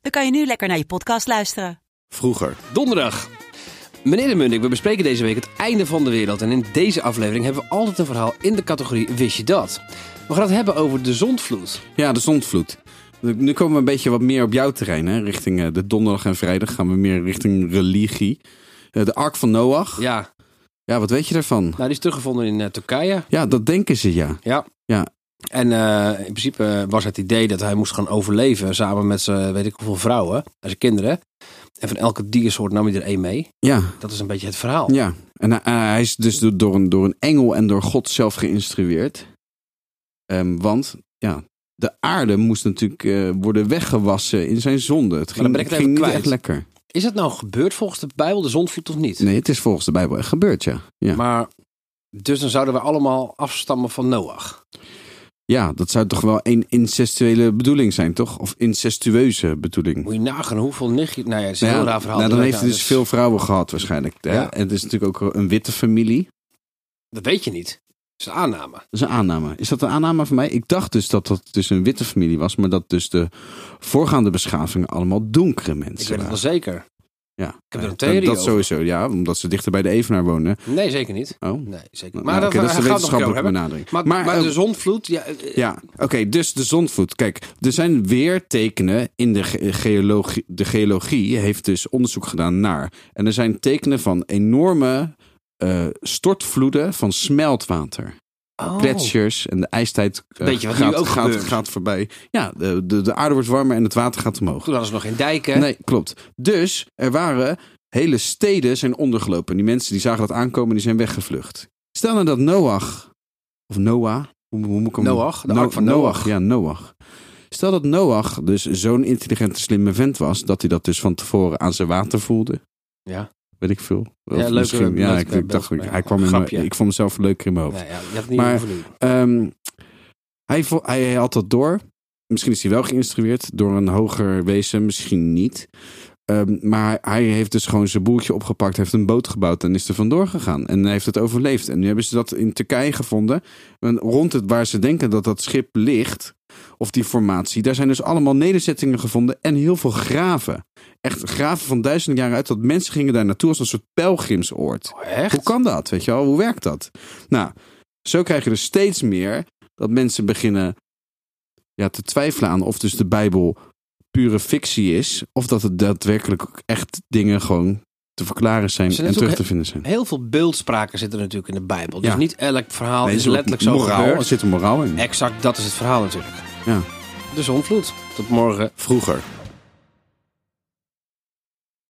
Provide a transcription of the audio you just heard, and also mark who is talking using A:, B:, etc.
A: dan kan je nu lekker naar je podcast luisteren.
B: Vroeger.
C: Donderdag. Meneer de Munnik, we bespreken deze week het einde van de wereld. En in deze aflevering hebben we altijd een verhaal in de categorie Wist je dat? We gaan het hebben over de zondvloed.
B: Ja, de zondvloed. Nu komen we een beetje wat meer op jouw terrein. Hè? Richting eh, de donderdag en vrijdag gaan we meer richting religie. Eh, De ark van Noach. Ja.
C: Ja,
B: wat weet je daarvan?
C: nou die is teruggevonden in eh, Turkije.
B: Ja, dat denken ze ja.
C: Ja.
B: Ja.
C: En eh, in principe was het idee dat hij moest gaan overleven samen met zijn weet ik hoeveel vrouwen en zijn kinderen. En van elke diersoort nam hij er één mee.
B: Ja,
C: Dat is een beetje het verhaal.
B: ja. En hij- hij is dus do- door een, door een engel en door God zelf geïnstrueerd. Ehm, want, ja, de aarde moest natuurlijk eh, worden weggewassen in zijn zonde. Het ging,
C: dan ben ik het
B: ging
C: even
B: niet
C: kwijt.
B: echt lekker.
C: Is dat nou gebeurd volgens de Bijbel, de zondvloed of niet?
B: Nee, het is volgens de Bijbel echt gebeurd, ja. Ja,
C: Maar dus dan zouden we allemaal afstammen van Noach.
B: ja dat zou toch wel een incestuele bedoeling zijn, toch? Of incestueuze bedoeling.
C: Moet je nagaan hoeveel nichtjes... Nou ja, het is een
B: Nou ja,
C: heel raar verhaal.
B: Nou, dan heeft hij
C: Nou,
B: dus veel vrouwen gehad waarschijnlijk. Hè?
C: Ja.
B: En het is natuurlijk ook een witte familie.
C: Dat weet je niet. Dat is een aanname.
B: Dat is een aanname. Is dat een aanname van mij? Ik dacht dus dat dat dus een witte familie was, maar dat dus de voorgaande beschavingen allemaal donkere
C: Ik
B: mensen
C: weet het wel
B: waren.
C: zeker.
B: Ja.
C: heb er een
B: Dat-
C: theorie
B: Dat,
C: over.
B: sowieso, ja, omdat ze dichter bij de Evenaar wonen.
C: Nee, zeker niet.
B: Oh.
C: Nee, zeker
B: Nou,
C: niet. Maar
B: oké,
C: dat,
B: dat is de
C: daar gaan we het nog een keer
B: wetenschappelijke
C: over hebben.
B: benadering.
C: Maar,
B: Maar,
C: maar
B: eh,
C: de zondvloed... Ja, eh,
B: Ja, oké, dus de zondvloed. Kijk, er zijn weer tekenen in de ge- geologie. De geologie heeft dus onderzoek gedaan naar. En er zijn tekenen van enorme eh, stortvloeden van smeltwater.
C: oh.
B: Gletsjers en de ijstijd eh,
C: Weet je wat nu
B: gaat,
C: ook
B: gaat,
C: gebeurt?
B: gaat voorbij. Ja, de, de, de aarde wordt warmer en het water gaat omhoog.
C: Toen hadden ze nog geen dijken.
B: Nee, klopt. Dus er waren hele steden zijn ondergelopen. Die mensen die zagen dat aankomen, die zijn weggevlucht. Stel nou dat Noach, of Noah, hoe, hoe moet ik hem
C: Noach, de ark van Noach.
B: Ja, Noach. Stel dat Noach dus zo'n intelligente, slimme vent was, dat hij dat dus van tevoren aan zijn water voelde.
C: Ja.
B: Weet ik veel. Of
C: leuke-
B: misschien- ja
C: leuke-
B: ik, ik dacht,
C: leuke-
B: hij kwam in mijn,
C: grapje.
B: ik vond mezelf leuker in mijn hoofd.
C: Nee, ja, je had het niet
B: Maar-
C: hoeven doen.
B: Ehm, hij, vo- hij had dat door. Misschien is hij wel geïnstrueerd door een hoger wezen, misschien niet. Ehm, maar hij heeft dus gewoon zijn boeltje opgepakt, heeft een boot gebouwd en is er vandoor gegaan. En hij heeft het overleefd. En nu hebben ze dat in Turkije gevonden. En rond het waar ze denken dat dat schip ligt, of die formatie, daar zijn dus allemaal nederzettingen gevonden en heel veel graven. Echt graven van duizenden jaren uit, dat mensen gingen daar naartoe als een soort pelgrimsoord.
C: Oh, echt?
B: Hoe kan dat? Weet je wel, hoe werkt dat? Nou, zo krijg je dus steeds meer dat mensen beginnen ja, te twijfelen aan of dus de Bijbel pure fictie is, of dat het daadwerkelijk ook echt dingen gewoon te verklaren zijn
C: Ze
B: en
C: net
B: terug
C: ook-
B: te vinden zijn.
C: Heel veel beeldspraken zitten er natuurlijk in de Bijbel. Dus
B: Ja.
C: niet elk verhaal
B: Nee,
C: is
B: er
C: letterlijk zo
B: moraal, Er
C: gebeurd.
B: zit een moraal in.
C: Exact, dat is het verhaal natuurlijk.
B: Ja.
C: De zondvloed. Tot morgen.
B: Vroeger.